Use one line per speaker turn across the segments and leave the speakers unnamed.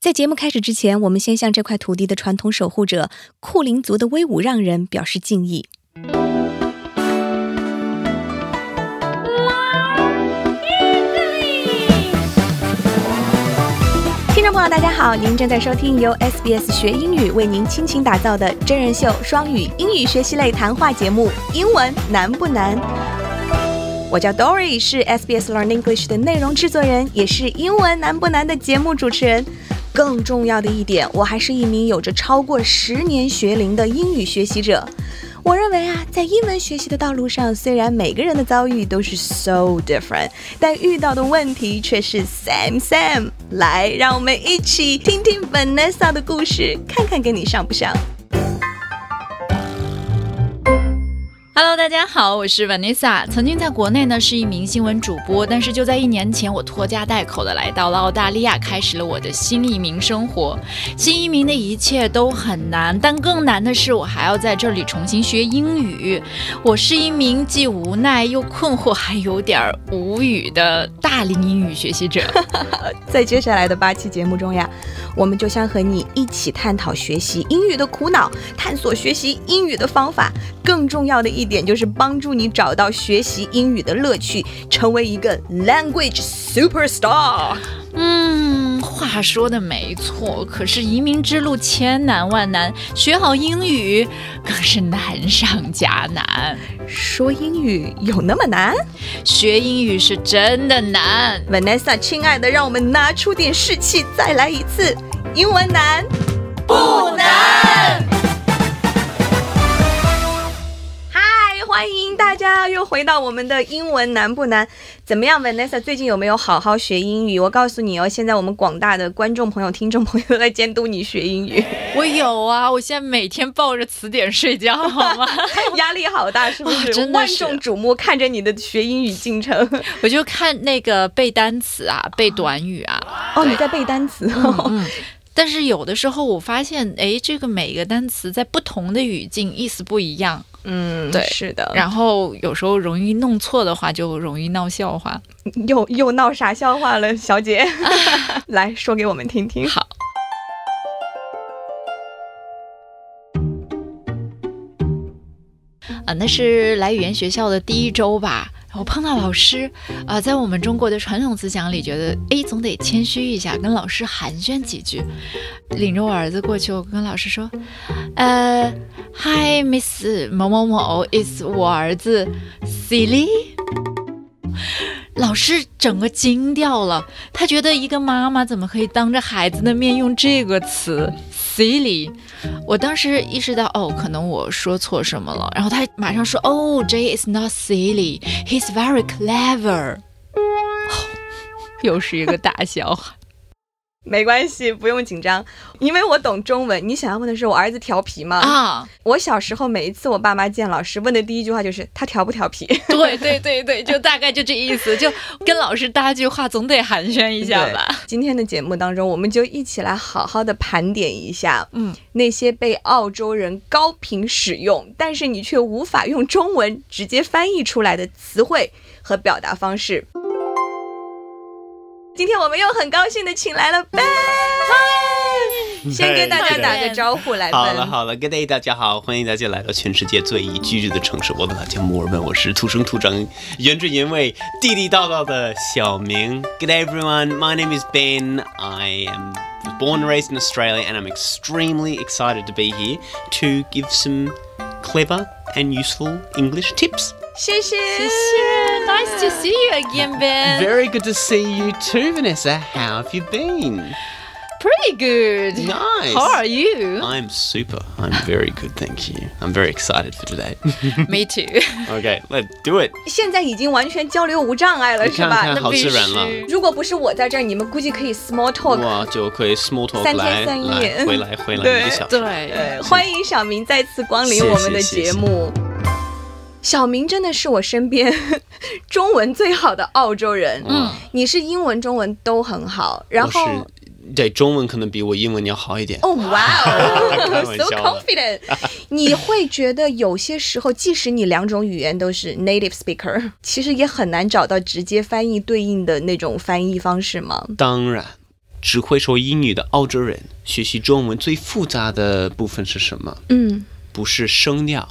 在节目开始之前，我们先向这块土地的传统守护者库林族的威武让人表示敬意。听众朋友，大家好，您正在收听由 SBS 学英语为您倾情打造的真人秀双语英语学习类谈话节目《英文难不难》。我叫 Dory，是 SBS Learn English 的内容制作人，也是《英文难不难》的节目主持人。更重要的一点，我还是一名有着超过十年学龄的英语学习者。我认为啊，在英文学习的道路上，虽然每个人的遭遇都是 so different，但遇到的问题却是 same same。来，让我们一起听听 Vanessa 的故事，看看跟你上不上。
Hello，大家好，我是 Vanessa。曾经在国内呢是一名新闻主播，但是就在一年前，我拖家带口的来到了澳大利亚，开始了我的新移民生活。新移民的一切都很难，但更难的是我还要在这里重新学英语。我是一名既无奈又困惑，还有点儿无语的大龄英语学习者。
在接下来的八期节目中呀，我们就将和你一起探讨学习英语的苦恼，探索学习英语的方法。更重要的一点就是帮助你找到学习英语的乐趣，成为一个 language superstar。
嗯，话说的没错，可是移民之路千难万难，学好英语更是难上加难。
说英语有那么难
学英语是真的难。
？Vanessa，亲爱的，让我们拿出点士气，再来一次。英文难不难？嗨，欢迎大家又回到我们的英文难不难？怎么样，Vanessa？最近有没有好好学英语？我告诉你哦，现在我们广大的观众朋友、听众朋友都在监督你学英 语，
我有啊，我现在每天抱着词典睡 觉，好吗？
压力好大，是不
哇
是？
哦真的
万
是
众瞩目，看着你的学英语进程。
我就看那个背单词啊，背短语啊。
哦，你在背单词哦。
嗯，但是有的时候我发现，哎，这个每个单词在不同的语境意思不一样，
嗯，
对
是的。
然后有时候容易弄错的话，就容易闹笑话。
又又闹啥笑话了，小姐？来说给我们听听。
好。啊，那是来语言学校的第一周吧。我碰到老师，啊、在我们中国的传统思想里，觉得哎，总得谦虚一下，跟老师寒暄几句。领着我儿子过去，我跟老师说，呃，Hi Miss 某某某，is 我儿子 Silly。老师整个惊掉了，他觉得一个妈妈怎么可以当着孩子的面用这个词 silly？我当时意识到，哦，可能我说错什么了。然后他马上说，哦，Jay is not silly, he's very clever。又哦是一个大笑话。
没关系，不用紧张，因为我懂中文。你想要问的是我儿子调皮吗？
啊！
我小时候每一次我爸妈见老师，问的第一句话就是他调不调皮。
对对对对，就大概就这意思，就跟老师搭句话，总得寒暄一下吧。
今天的节目当中，我们就一起来好好的盘点一下
嗯，
那些被澳洲人高频使用，但是你却无法用中文直接翻译出来的词汇和表达方式。今天我们又很高兴的请来了 Ben，先跟大家打个招呼来
好了
Ben。
好了，Good day，大家好，欢迎大家来到全世界最宜居住的城市——我的老家墨尔本。我是土生土长、原汁原味、地地道道的小明。Good day, everyone. My name is Ben. I am born and raised in Australia, and I'm extremely excited to be here to give some clever and useful English tips.
谢谢
谢谢，Nice to see you again, Ben.
Very good to see you too, Vanessa. How have you been?
Pretty good.
Nice.
How are you?
I'm super. I'm very good, thank you. I'm very excited for today.
Me too.
okay, let's do it.
现在已经完全交流无障碍了，
你
是
看
吧
看，？好自然了。
如果不是我在这儿，你们估计可以 small talk。
哇，就可以 small talk
三天
来
三夜
来回来回
对
来一个小时。
对，
呃，欢迎小明再次光临
谢谢
我们的
谢
节
谢
目。小明真的是我身边 中文最好的澳洲人。
嗯，
你是英文、中文都很好，然
我是
后
对中文可能比我英文要好一点。
哦，哇 哦
开
，so
玩笑的
confident！你会觉得有些时候，即使你两种语言都是 native speaker，其实也很难找到直接翻译对应的那种翻译方式吗？
当然，只会说英语的澳洲人学习中文最复杂的部分是什么？
嗯
不是声调，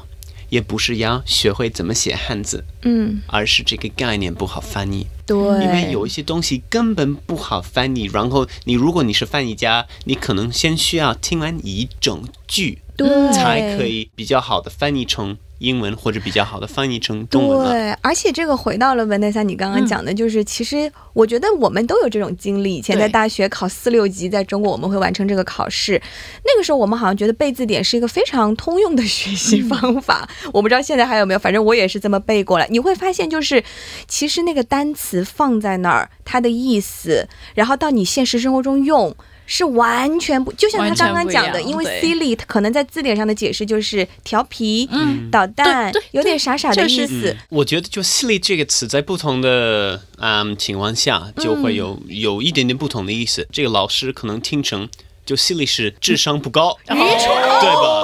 也不是要学会怎么写汉字，
嗯，
而是这个概念不好翻译。
对，
因为有一些东西根本不好翻译。然后你如果你是翻译家，你可能先需要听完一整句，
对
才可。以比较好的翻译成英文，或者比较好的翻译成中文啊了。
对，而且这个回到了文内萨，你刚刚
嗯
讲的，就是、其实我觉得我们都有这种经历。以前在
对
大学考四六级，在中国我们会完成这个考试，那个时候我们好像觉得背字典是一个非常通用的学习方法。我不知道现在还有没有，反正我也是这么背过来。你会发现，就是其实那个单词放在那儿，它的意思，然后到你现实生活中用。是完全不，就像他
完全
刚刚
不一
讲的，
样
因为
对
silly 它可能在字典上的解释就是调皮、
嗯
捣蛋
对对，
有点傻傻的
就是
嗯
意思。
我觉得就 “silly” 这个词，在不同的嗯情况下，就会有有一点点不同的意思。这个老师可能听成就 “silly” 是智商不高，对吧？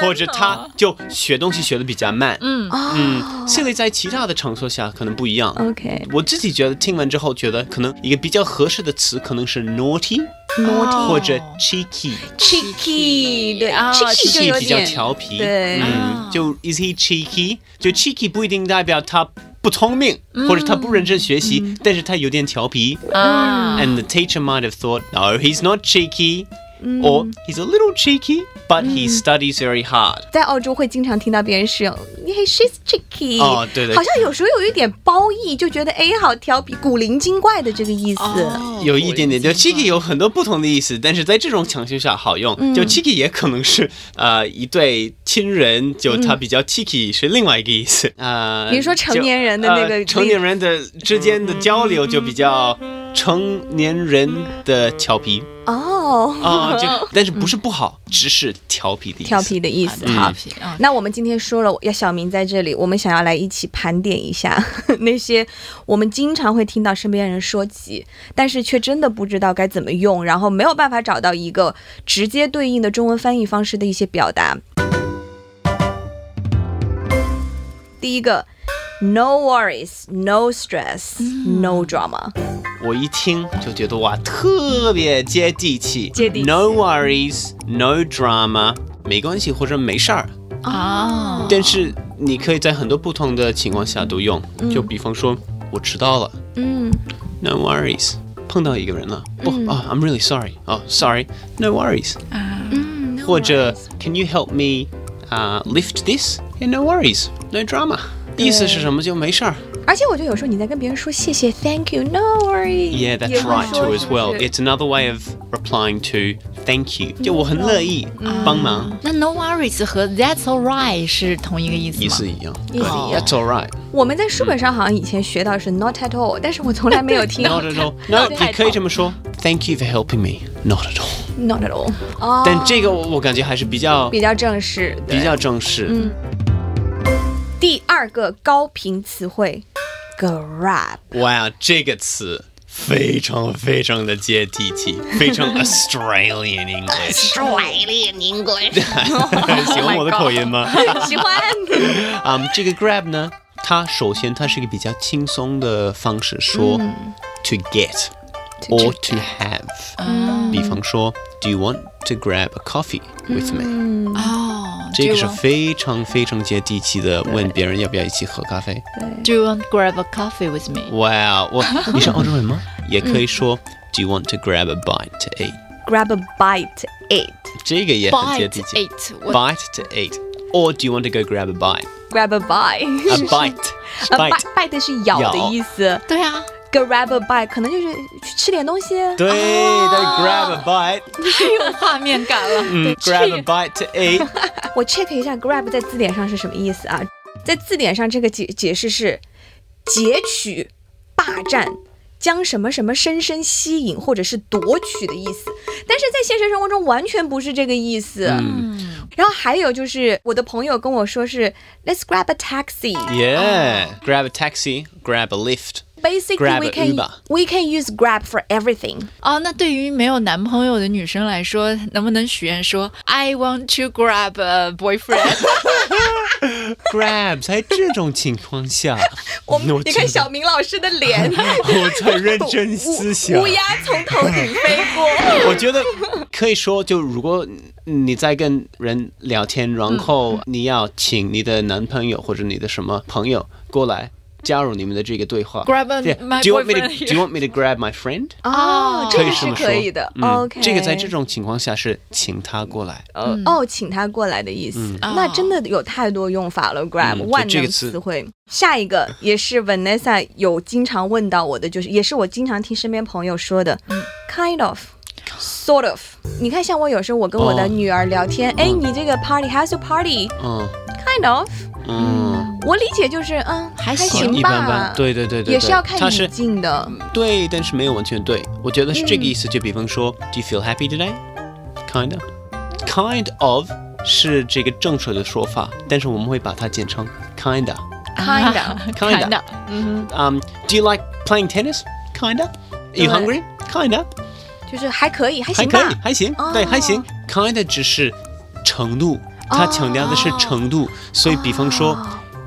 或者他就学东西学的比较慢。
嗯，
哦
嗯，silly 在其他的场所下可能不一样。
OK，
我自己觉得听完之后，觉得可能一个比较合适的词可能是 naughty
哦
或者 cheeky，
cheeky，对
啊
，cheeky 就
cheeky
有
比较
点
调皮，
对
嗯
啊，
就 is he cheeky？就 cheeky 不一定代表他不聪明，或者他不认真学习，但是他有点调皮。
啊
And the teacher might have thought, no, he's not cheeky, or he's a little cheeky, but
Mm.
he studies very hard.
在澳洲会经常听到别人使用 “Hey, she's cheeky”，
哦对对
好像有时候有一点褒义，就觉得哎，好调皮，古灵精怪的这个意思。
哦
有一点点，就
我已经
cheeky 有很多不同的意思，但是在这种情绪下好用。
嗯
就 cheeky 也可能是呃一对亲人，就他比较 cheeky 是另外一个意思。呃，
嗯比如说成
就
年人的那个
呃
例子
成年人的之间的交流就比较呃成年人的调皮
哦，
啊，就但是不是不好，只是调皮的 意思。
调皮的意思。
嗯
好的
好
好，皮啊，
那我们今天说了，要小明在这里，我们想要来一起盘点一下 那些我们经常会听到身边人说起，但是却真的不知道该怎么用，然后没有办法找到一个直接对应的中文翻译方式的一些表达。第一个，no worries，no stress，no drama。
我一听就觉得哇，特别接地气，
接地气
No worries, no drama，没关系或者没事儿。
啊，
但是你可以在很多不同的情况下都用，就比方说我迟到了
嗯
，No worries，碰到一个人了，不啊、i m really sorry，哦、s o r r y n o worries，
嗯，
或者 Can you help me 啊、lift this？Yeah，no worries，no drama，意思是什么？就没事儿。
而且我觉得有时候你在跟别人说谢谢，thank you，no worries。
Yeah, that's
也会
right
说
too as well.
是
It's another way of replying to thank you，就我很乐意帮忙，
那 no worries 和 that's alright 是同一个意思吗？
意思一样。
意思一样
That's all right.
我们在书本上好像以前学到是 not at all，但是我从来没有听
Not at all. No，
对
你可以这么说。Thank you for helping me. Not at all.
not at all。哦，
但这个我我感觉还是比较
比较正式。对
比较正式。嗯，
第二个高频词汇，grab。
哇，这个词非常非常的接地气，非常 Australian English。Australian English，喜欢我的口音吗？
喜欢。
啊、这个 grab 呢，它首先它是一个比较轻松的方式说、to get or 嗯 to 啊 have。比方说，Do you want to grab a coffee with me？、
哦，
嗯这个
do
是
you want-
非常非常接地气的，问别人要不要一起喝咖啡。
Do you want to grab a coffee with me？
哇，我你是澳洲人吗？也可以说、Do you want to grab a bite to eat？
grab a bite eat。
这个也很接
Bite
地气。
eight，我
Bite to eat。Or do you want to go grab a bite?
grab a bite。
A bite.
a
Bite.
bite 是咬的意思
对啊，
，grab a bite 可能就是去吃点东西。
对，
Ah.
对，grab a bite，
太有画面感了。
嗯，grab a bite to
Ah.
eat。
我 check 一下 grab 在字典上是什么意思啊？在字典上这个解解释是截取、霸占、将什么什么深深吸引或者是夺取的意思，但是在现实生活中完全不是这个意思。
嗯
然后还有就是我的朋友跟我说是 let's grab a taxi。
Yeah, grab a taxi, grab a lift.
Basically,
Grab
we
a
can
Uber.
we can use grab for everything.
哦，那对于没有男朋友的女生来 说，能不能许愿说 I want to grab a boyfriend？
grabs，还这种情况下，
我们
我
你看
觉得
小明老师的脸，
我在认真思想
乌乌。鸦从头顶飞过。
我觉得可以说，就如果你在跟人聊天，然
嗯
后你要请你的男朋友或者你的什么朋友过来加入你们的这个对话。
Grab a-
Yeah,
my
do you want me to
boyfriend here.
Do you want me to grab my friend？
哦，这
可
个
以
是
这么说，
可以的。哦
嗯
OK，
这个在这种情况下是请他过来。
呃哦，请他过来的意思。那真的有太多用法了，grab、
嗯
万
就这
能
个词
词汇。下一 个也是 Vanessa 有经常问到我的，就是也是我经常听身边朋友说的、k i n d of。Sort of，你看，像我有时候我跟我的
哦
女儿聊天，哎、你这个 party how's your party？Kind
嗯
of，
嗯，
我理解就是，嗯，
还
还
行
行
一
吧，
般般。对对对对，
也是
对
要看
他
语
是嗯
境的。
对，但是没有完全对。我觉得是这个意思。就比方说，Do you feel happy today? Kind of, kind of 是这个正确的说法，但是我们会把它简称 kind of。
Kinda 嗯
啊
Kinda
kinda
Um, do you like playing tennis? Kind of. Are you
对
hungry? Kind of.
就是还可以，还
还
行
可
吧
以，。还行
哦，
对，还行。Kind of 只是程度，它强调的是程度。所以，比方说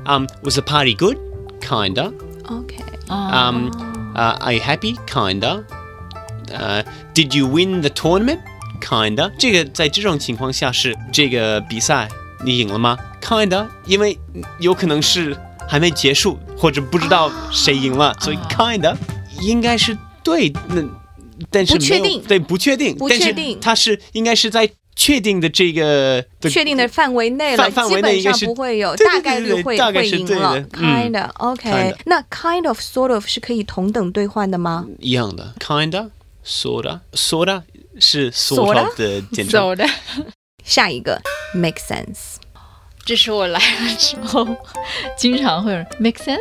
，Um,
哦
was the party good? Kind of.
OK，哦
啊
Um, uh, are you happy? Kinda. Uh, did you win the tournament? Kinda. 这个在这种情况下是这个比赛你赢了吗？Kinda，因为有可能是还没结束，或者不知道谁赢了，所以 kinda 应该是对。那但是
不确
没有
定
对，不确定，
不
但
确
是
定
它是应该是在确定的这个的
确定的范围内了，
范范围
基
内
本
应该
上
是
不会有，
对对
大概率
对对
会
大概
会
是
赢
对
了
的嗯
，kind of OK
kind。
那 kind of sort of 是可以同等兑换的吗？
一样的，kinda sorta sorta 是
Sorta？
sort of 的简称。
走的，
下一个 make sense，
这是我来了之后经常会有人 make sense。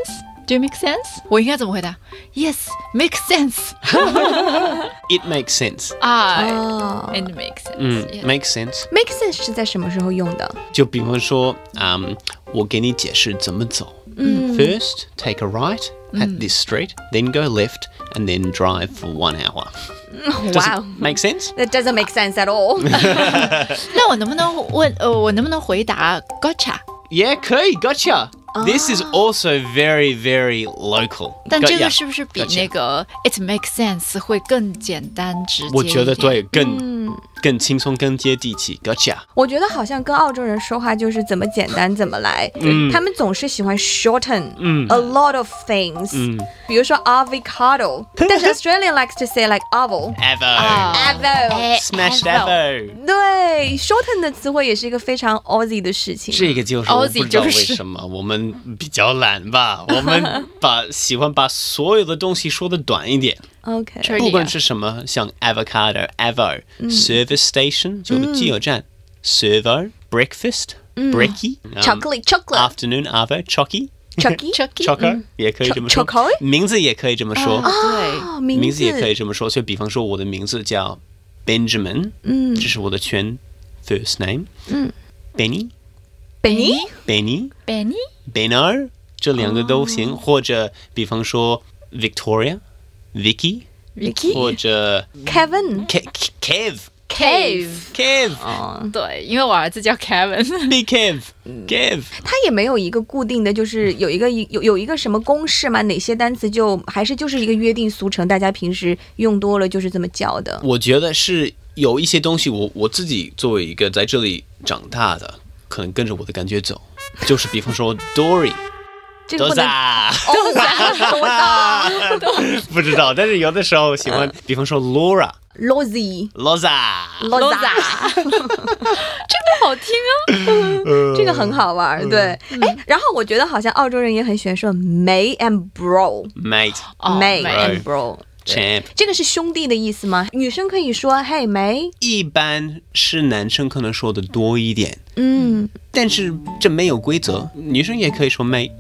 Do you make sense？我应该怎么回答？Yes, make sense
It makes sense。Oh.
啊、
哦
and make sense、
嗯
yes.
，makes sense。
，make sense 是在什么时候用的？
就比方说，嗯，我给你解释怎么走。First, take a right
Mm。
at this street, then go left, and then drive for one hour.
哇哦
Make sense?
，That doesn't make sense at all。
那我能不能问？呃，我能不能回答 gotcha？
Yeah, 可以，gotcha. This is also very, very local.
Ah。但这个
Gotcha.
是不是比
Gotcha.
那个 it makes sense 会更简单直接？
我觉得。对，更更轻松，更接地气。Gotcha.
我觉得好像跟澳洲人说话就是怎么简单怎么来，
嗯
他们总是喜欢 shorten、a lot of things，、比
嗯
如说 avocado，但是 Australian likes to say like avo
Ever.
啊
avo。
Smashed ever.
对，shorten 的词汇也是一个非常 Aussie 的事情。
这个就是我
Aussie
不知道
就
为
是
什么我们比较懒吧，我们把喜欢把所有的东西说的短一点。
OK，
这
不
里啊
管是什么，像 avocado、avo、service station 就是基友站、servo、breakfast、breaky、
chocolate chocolate
afternoon、avo、chocky、
chocky
chocker 也可以这么说
chocolate，
名字也可以这么说，
嗯啊对，
哦，
名
名
字也可以这么说。就比方说，我的名字叫 Benjamin，
嗯
这是我的全 first name，
嗯
，Benny、
Benny
Benny、
Benny
Benner 这两个都行，
哦
或者比方说 Victoria、Vicky 或
Vicky 嗯
者
Kevin 哦
Ke- Ke- Kev。
Cave，
Kev,
嗯
对，因为我儿子叫 Kevin，
Big Kev,
嗯
Kev，
他也没有一个固定的，就是有一个有有一个什么公式嘛？哪些单词就还是就是一个约定俗成，大家平时用多了就是这么叫的。
我觉得是有一些东西我，我自己作为一个在这里长大的，可能跟着我的感觉走，就是比方说 Dory，
这个
多
不能哦
萨，
多萨多 萨
不知道，但是有的时候喜
嗯
欢，比方说 Laura、
Lozzy 嗯
Loza，
Loza，
这个好听啊。
这个很好玩儿。对，
嗯
哎，然后我觉得好像澳洲人也很喜欢说 May and Bro。
Mate、
哦
May
May
and Bro，
Champ，
这个是兄弟的意思吗？女生可以说嘿梅，
一般是男生可能说的多一点，
嗯，
但是这没有规则，女生也可以说 mate，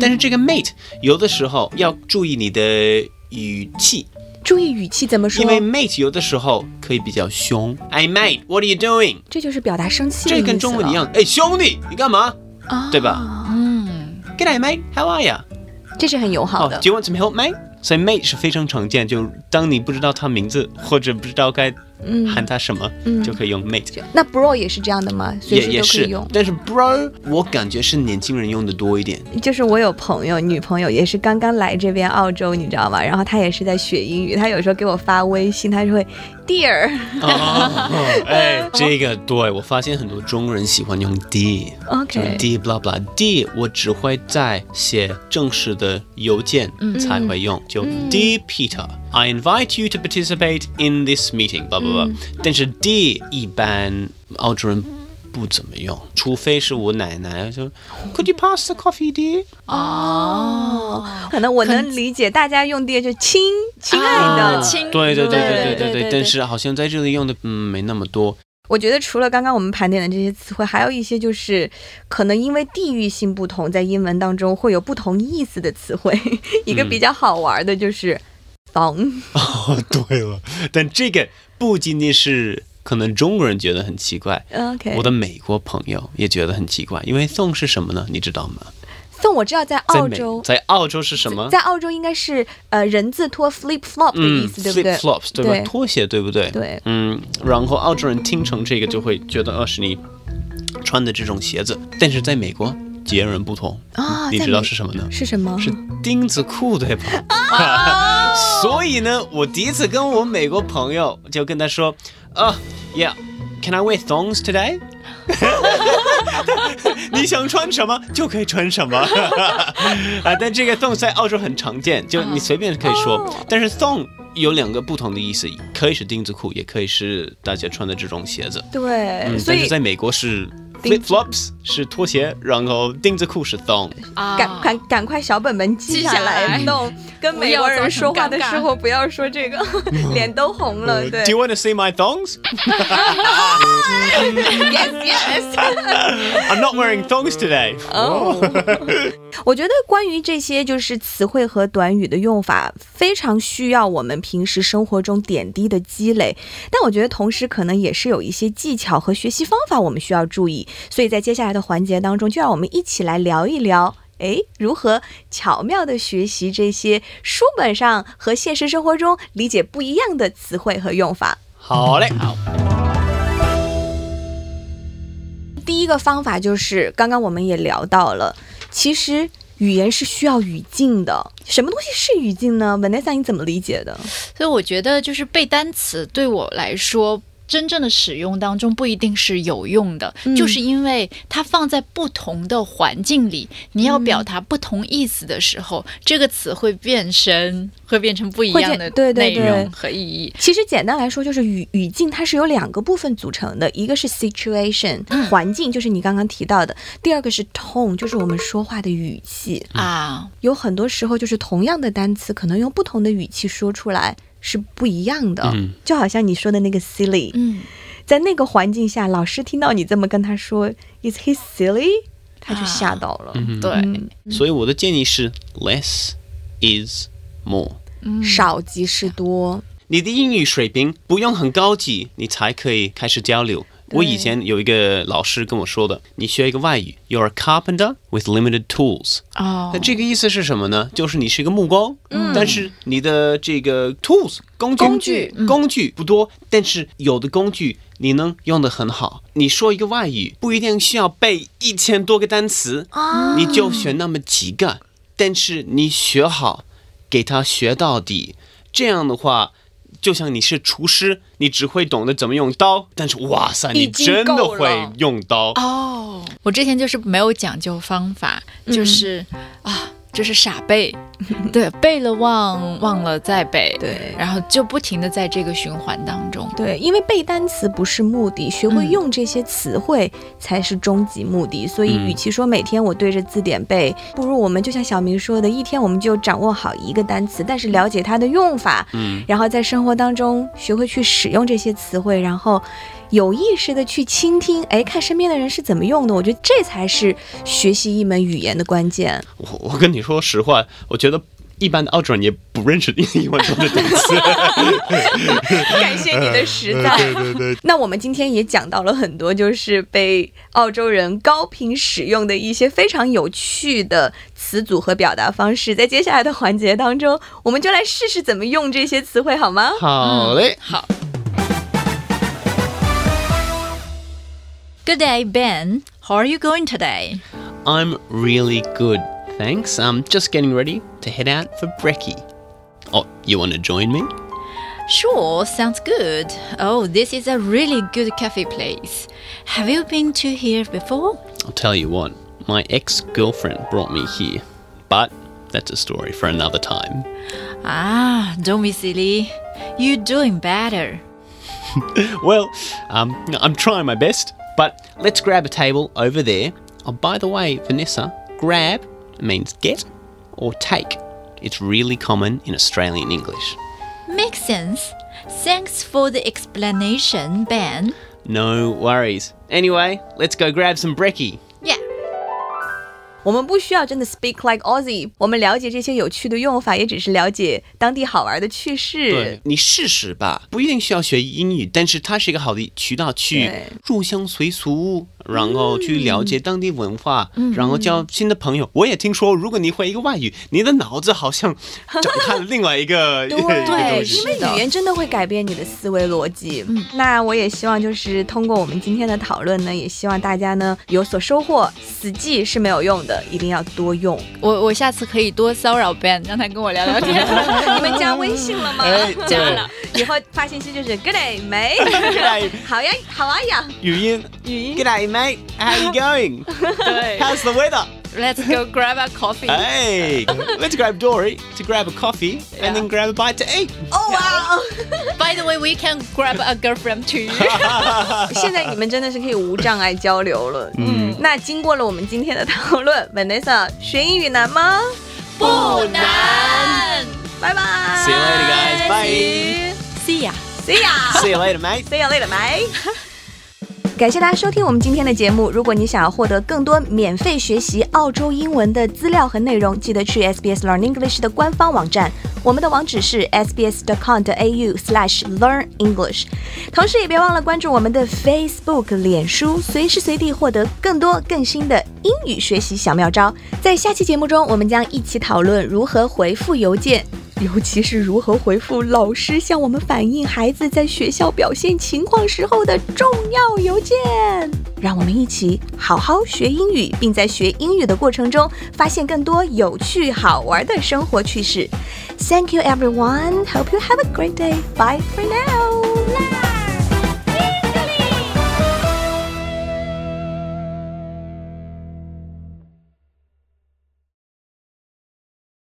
但
嗯
是这个 mate 有的时候要注意你的语气。
注意语气怎么说
因，为 mate 有的时候可以比较凶。哎 mate, what are you doing？
这就是表达生气的意
这
思啊
跟中文一
了，
样，哎兄弟，你干嘛
啊
对吧？
嗯，
？Good day, mate. How are you?
这是很友好
哦
的。
，Do you want some help, mate？所以 mate 是非常常见，就当你不知道他名字或者不知道该
嗯
喊他什么
嗯
就可以用 mate。
那 bro 也是这样的吗？随
也
时
也
都可以
是
用，。
但是 bro，我感觉是年轻人用的多一点。
就是我有朋友，女朋友也是刚刚来这边澳洲，你知道吗？然后她也是在学英语，她有时候给我发微信，她就会 dear，
哦， 哎，这个对我发现很多中国人喜欢用 d，
OK
就是 d blah blah d，我只会在写正式的邮件才会用，就 d Peter。I invite you to participate in this meeting，blah blah blah。但是 d 一般澳洲人不怎么用，除非是我奶奶就 Could you pass the coffee, dear？
哦，
可能我能理解，大家用 dear 就亲亲爱的
啊。亲
对对对对
对
对
对
对
对
对，但是好像在这里用的嗯没那么多。
我觉得除了刚刚我们盘点的这些词汇，还有一些就是可能因为地域性不同，在英文当中会有不同意思的词汇。
嗯
一个比较好玩的就是“房
哦， 对了，但这个不仅仅是可能中国人觉得很奇怪。
”，OK，
我的美国朋友也觉得很奇怪，因为送是什么呢？你知道吗？
送我知道在
在
澳
美
洲，
在澳洲是什么？
在澳洲应该是呃人字拖 flip flop 的意
嗯
思，对不对
，flip flops 对吧？
对
拖鞋对不对？
对
嗯，然后澳洲人听成这个就会觉得，哦，是你穿的这种鞋子，但是在美国截然不同。
啊，
嗯你
在
知道
美
是什么呢？
是什么？
是钉子裤，对吧？
哦
所以呢，我第一次跟我美国朋友就跟他说，啊、y e a h c a n I wear thongs today？你想穿什么就可以穿什么 啊！但这个 thong 在澳洲很常见，就你随便可以说。
哦
但是 thong 有两个不同的意思，可以是钉子裤，也可以是大家穿的这种鞋子。
对，
嗯，
所
但是
以
在美国是
钉
flip flops 是拖鞋，然后钉子裤是 thong。
啊
赶赶赶快小本本记
记
下
下
来，
来
弄跟
不
美
要
国
造
人
成
说话的
尴尬
时候不要说这 个，脸都红了。对
Do you want to see my thongs?
，yes yes。
I'm not wearing thongs today.
Oh.
哦， 我觉得关于这些就是词汇和短语的用法，非常需要我们平时生活中点滴的积累。但我觉得同时可能也是有一些技巧和学习方法我们需要注意。所以在接下来的环节当中，就让我们一起来聊一聊。诶，如何巧妙地学习这些书本上和现实生活中理解不一样的词汇和用法？
好嘞，好。
第一个方法就是刚刚我们也聊到了，其实语言是需要语境的。什么东西是语境呢？Vanessa，你怎么理解的？
所以我觉得就是背单词对我来说。真正的使用当中不一定是有用的，
嗯
就是因为它放在不同的环境里，你要表
嗯
达不同意思的时候，这个词会变身，会变成不一
会
样
变
的
对对
内
对
容和意义。
其实简单来说，就是语语境它是由两个部分组成的，一个是 situation 环境，就是你刚刚提到的；第二个是 tone，就是我们说话的语气。
啊，
有很多时候，就是同样的单词，可能用不同的语气说出来是不一样的。
嗯
就好像你说的那个 silly，
嗯，
在那个环境下，老师听到你这么跟他说，Is he silly？他就吓到了。
对，
啊嗯
所以我的建议是，less is more。
少即是多。
你的英语水平不用很高级，你才可以开始交流。我以前有一个老师跟我说的，你学一个外语，You're a carpenter with limited tools。
哦嗯
那，这个意思是什么呢？就是你是一个木工，但是你的这个 tools 工具
工具嗯
工具不多，但是有的工具你能用得很好。你说一个外语不一定需要背一千多个单词，
啊
你就学那么几个，但是你学好，给他学到底，这样的话。就像你是厨师，你只会懂得怎么用刀，但是哇塞，
已
你
经
真的
够了
会用刀
哦，我之前就是没有讲究方法，
嗯
就是、啊，就是傻背，对，背了忘，忘了再背，
对
然后就不停的在这个循环当中。
对，因为背单词不是目的，学会用这些词汇才是终极目的。所以，与其说每天我对着字典背，不如我们就像小明说的，一天我们就掌握好一个单词，但是了解它的用法，嗯，然后在生活当中学会去使用这些词汇，然后有意识的去倾听，哎，看身边的人是怎么用的。我觉得这才是学习一门语言的关键。
我我跟你说实话，我觉得一般的澳洲人也不认识英文中的单词。
感谢你的实在。呃对对对。 那我们今天也讲到了很多，就是被澳洲人高频使用的一些非常有趣的词组和表达方式。在接下来的环节 当中，我们就来试试怎么用这些词汇，好吗？
好嘞，
好， Good day, Ben. How are you going today?
I'm really good, thanks. I'm just getting ready to head out for brekkie. Oh, you want to join me?
Sure, sounds good. Oh, this is a really good cafe place. Have you been to here before?
I'll tell you what, my ex girlfriend brought me here, but that's a story for another time.
Ah, don't be silly. You're doing better.
Well, um, I'm trying my best, but let's grab a table over there. Oh, by the way, Vanessa, grab means get or take. It's really common in Australian English.
Makes sense. Thanks for the explanation, Ben.
No worries. Anyway, let's go grab some brekkie.
Yeah.
我们不需要真的 speak like Aussie，我们了解这些有趣的用法，也只是了解当地好玩的趣事。
你试试吧，不一定需要学英语，但是它是一个好的渠道去
对
入乡随俗，然后去了解当地文化，
嗯
然后交新的朋友。我也听说，如果你会一个外语，你的脑子好像长开了另外 一个 呃一个
对
东
是
因
西。
为语言真的会改变你的思维逻辑。那我也希望就是通过我们今天的讨论呢，也希望大家呢有所收获。死记是没有用的，一定要多用。
我我下次可以多骚扰 Ben，让他跟我聊聊 天。
你们加微信了吗？
哎
加
对
了。以后发信息就是 Good day，没
G'day，
好呀，好啊呀。
语音，
语音
G'day mate, how you going?
对
How's the weather?
，Let's go grab a coffee.
Hey, let's grab Dory to grab a coffee and then grab a bite to eat.
哦哇哦！
By the way, we can grab a girlfriend too.
现在你们真的是可以无障碍交流了。嗯，那经过了我们今天的讨论，Vanessa 学英语难吗？
不 难。
拜拜
See you later, guys. Bye.
See ya.
See ya。
See you later, mate.
See you later, bye. 感谢大家收听我们今天的节目。如果你想要获得更多免费学习澳洲英文的资料和内容，记得去 SBS Learn English 的官方网站。我们的网址是 sbs.com.au/learn English。同时，也别忘了关注我们的 Facebook、脸书，随时随地获得更多更新的英语学习小妙招。在下期节目中，我们将一起讨论如何回复邮件。尤其是如何回复老师向我们反映孩子在学校表现情况时候的重要邮件。让我们一起好好学英语，并在学英语的过程中发现更多有趣好玩的生活趣事。Thank you, everyone. Hope you have a great day. Bye for now.